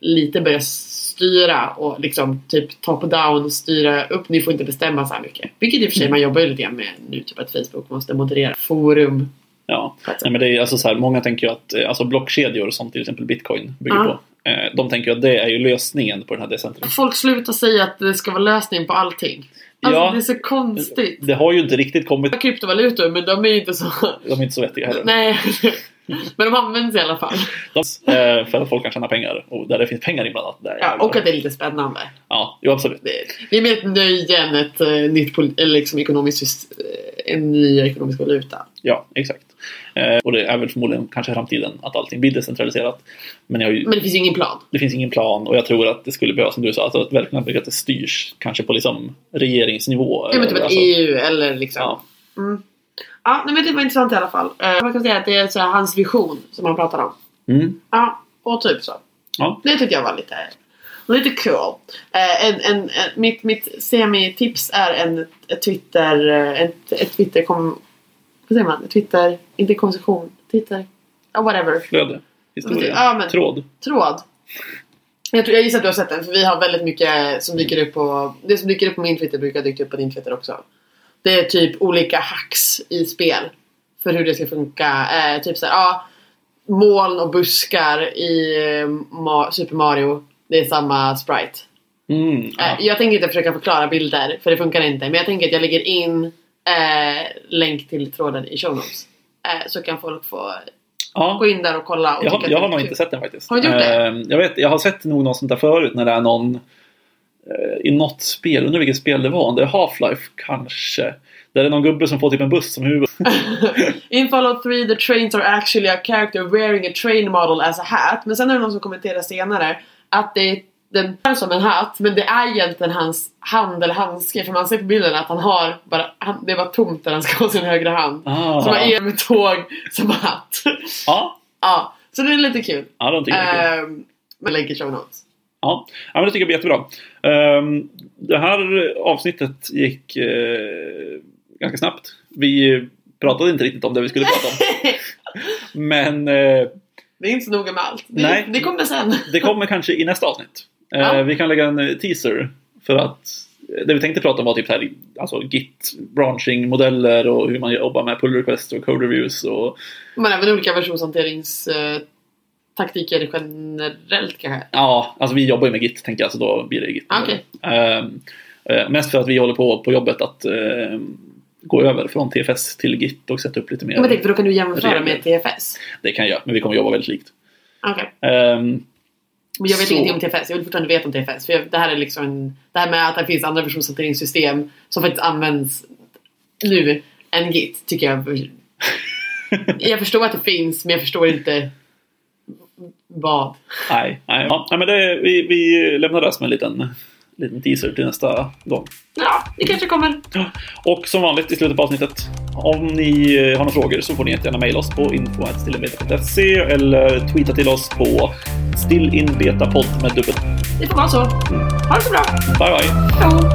A: lite börja styra och liksom typ top-down styra upp. Ni får inte bestämma så här mycket. Vilket i och för sig man jobbar ju lite grann med nu. Typ att Facebook måste moderera forum.
B: Ja. Nej, men det är ju alltså så här, många tänker ju att eh, alltså blockkedjor som till exempel bitcoin bygger
A: Ja.
B: på. eh, De tänker ju att det är ju lösningen på den här decentraliseringen.
A: Folk slutar säga att det ska vara lösning på allting. Alltså
B: Ja.
A: det är så konstigt.
B: Det har ju inte riktigt kommit.
A: Kryptovalutor, men de är ju inte så...
B: [LAUGHS] De är inte så vettiga heller.
A: Nej. [LAUGHS] Men de används i alla fall.
B: De, eh, för att folk kan tjäna pengar. Och där det finns pengar inblandat. Där
A: Ja,
B: jävlar.
A: och att det är lite spännande.
B: ja, jo, absolut.
A: Det, det är mer ett nöje än ett eh, nytt poli- eller liksom ekonomiskt, sys- eh, en ny ekonomisk valuta.
B: Ja, exakt. Eh, och det är väl förmodligen kanske framtiden att allting blir decentraliserat. Men jag har ju,
A: Men det finns ju ingen plan.
B: det finns ingen plan och jag tror att det skulle behövas, som du sa, alltså, att verkligen bygga att det styrs kanske på liksom regeringsnivå.
A: Ja men typ ett
B: Alltså,
A: EU eller liksom. Ja.
B: ja.
A: Mm. Ja, nej, men det var intressant i alla fall. Eh, man kan säga att det är så här, hans vision som han pratar om.
B: Mm.
A: Ja, och typ så.
B: Ja.
A: Det tyckte jag var lite, lite cool. Eh, en, en, en, mitt mitt semi-tips är en ett Twitter... eh, Ett, ett Twitter... Kom, vad säger man? Ett Twitter... Inte konversation. Twitter... Ja, whatever.
B: Flöde. Historia.
A: Ja, men-
B: Tråd.
A: Tråd. Jag, tror, jag gissar att du har sett den för vi har väldigt mycket som dyker upp på... Det som dyker upp på min Twitter brukar dyka upp på din Twitter också. Det är typ olika hacks i spel. För hur det ska funka. Eh, typ såhär, ja. Moln och buskar i eh, Ma- Super Mario. Det är samma sprite.
B: Mm, ja.
A: Eh, Jag tänker inte försöka förklara bilder, för det funkar inte. Men jag tänker att jag lägger in eh, länk till tråden i show notes. Eh, så kan folk få
B: ja.
A: gå in där och kolla. Och
B: Jag, har,
A: tycka att
B: jag
A: det
B: har
A: är
B: nog
A: kul.
B: inte sett den faktiskt.
A: Har du gjort det?
B: Eh, jag, vet, jag har sett nog något sånt där förut när det är någon eh, i något spel, undrar vilket spel det var, om det är Half-Life kanske. Där det är någon gubbe som får typ en buss som huvud.
A: In Fallout 3 the trains are actually a character wearing a train model as a hat. Men sen är det någon som kommenterar senare att det är den är som en hatt men det är egentligen hans hand eller handske för man ser på bilden att han har bara, han, det var tomt där han ska ha sin högra hand.
B: Ah.
A: Så man är med tåg som hatt.
B: Ja,
A: [LAUGHS] ja, så det är lite kul.
B: ja de tycker jag är kul.
A: Ehm, men lägger show notes.
B: Ja, ja men det tycker jag blir jättebra. Ehm, det här avsnittet gick eh, ganska snabbt. Vi pratade inte riktigt om det vi skulle
A: [LAUGHS]
B: prata om. Men eh,
A: Det är inte så noga med allt. Det,
B: Nej.
A: det kommer sen.
B: det kommer kanske i nästa avsnitt. Eh,
A: Ja.
B: Vi kan lägga en eh, teaser. För att eh, det vi tänkte prata om var typ så här, alltså git branching modeller och hur man jobbar med pull requests och code reviews och
A: Men även olika versionshanteringstaktiker generellt kanske.
B: Ja, alltså vi jobbar ju med Git tänker jag, så då blir det Git.
A: Okej.
B: Ehm, eh, mest för att vi håller på på jobbet att ehm, gå över från TFS till Git och sätta upp lite mer.
A: Men tänk, för då kan du jämföra med TFS.
B: Det kan jag göra, men vi kommer jobba väldigt likt.
A: Okej.
B: Ehm,
A: Men jag vet
B: Så.
A: ingenting om TFS. Jag vill fortfarande veta om TFS. För jag, det här är liksom en, Det här med att det finns andra versionshanteringssystem som faktiskt används nu än Git tycker jag. Jag förstår att det finns men jag förstår inte vad.
B: nej, nej. Ja, nej, men det, vi, vi lämnar det här som en liten, liten teaser till nästa gång.
A: Ja, det kanske kommer.
B: Och som vanligt i slutet på avsnittet, om ni eh, har några frågor så får ni jättegärna mejla oss på info.stillinbeta.se eller tweeta till oss på stillinbetapodd med dubbel.
A: Det får vara så. Ha det så bra.
B: Bye bye!
A: Hej då.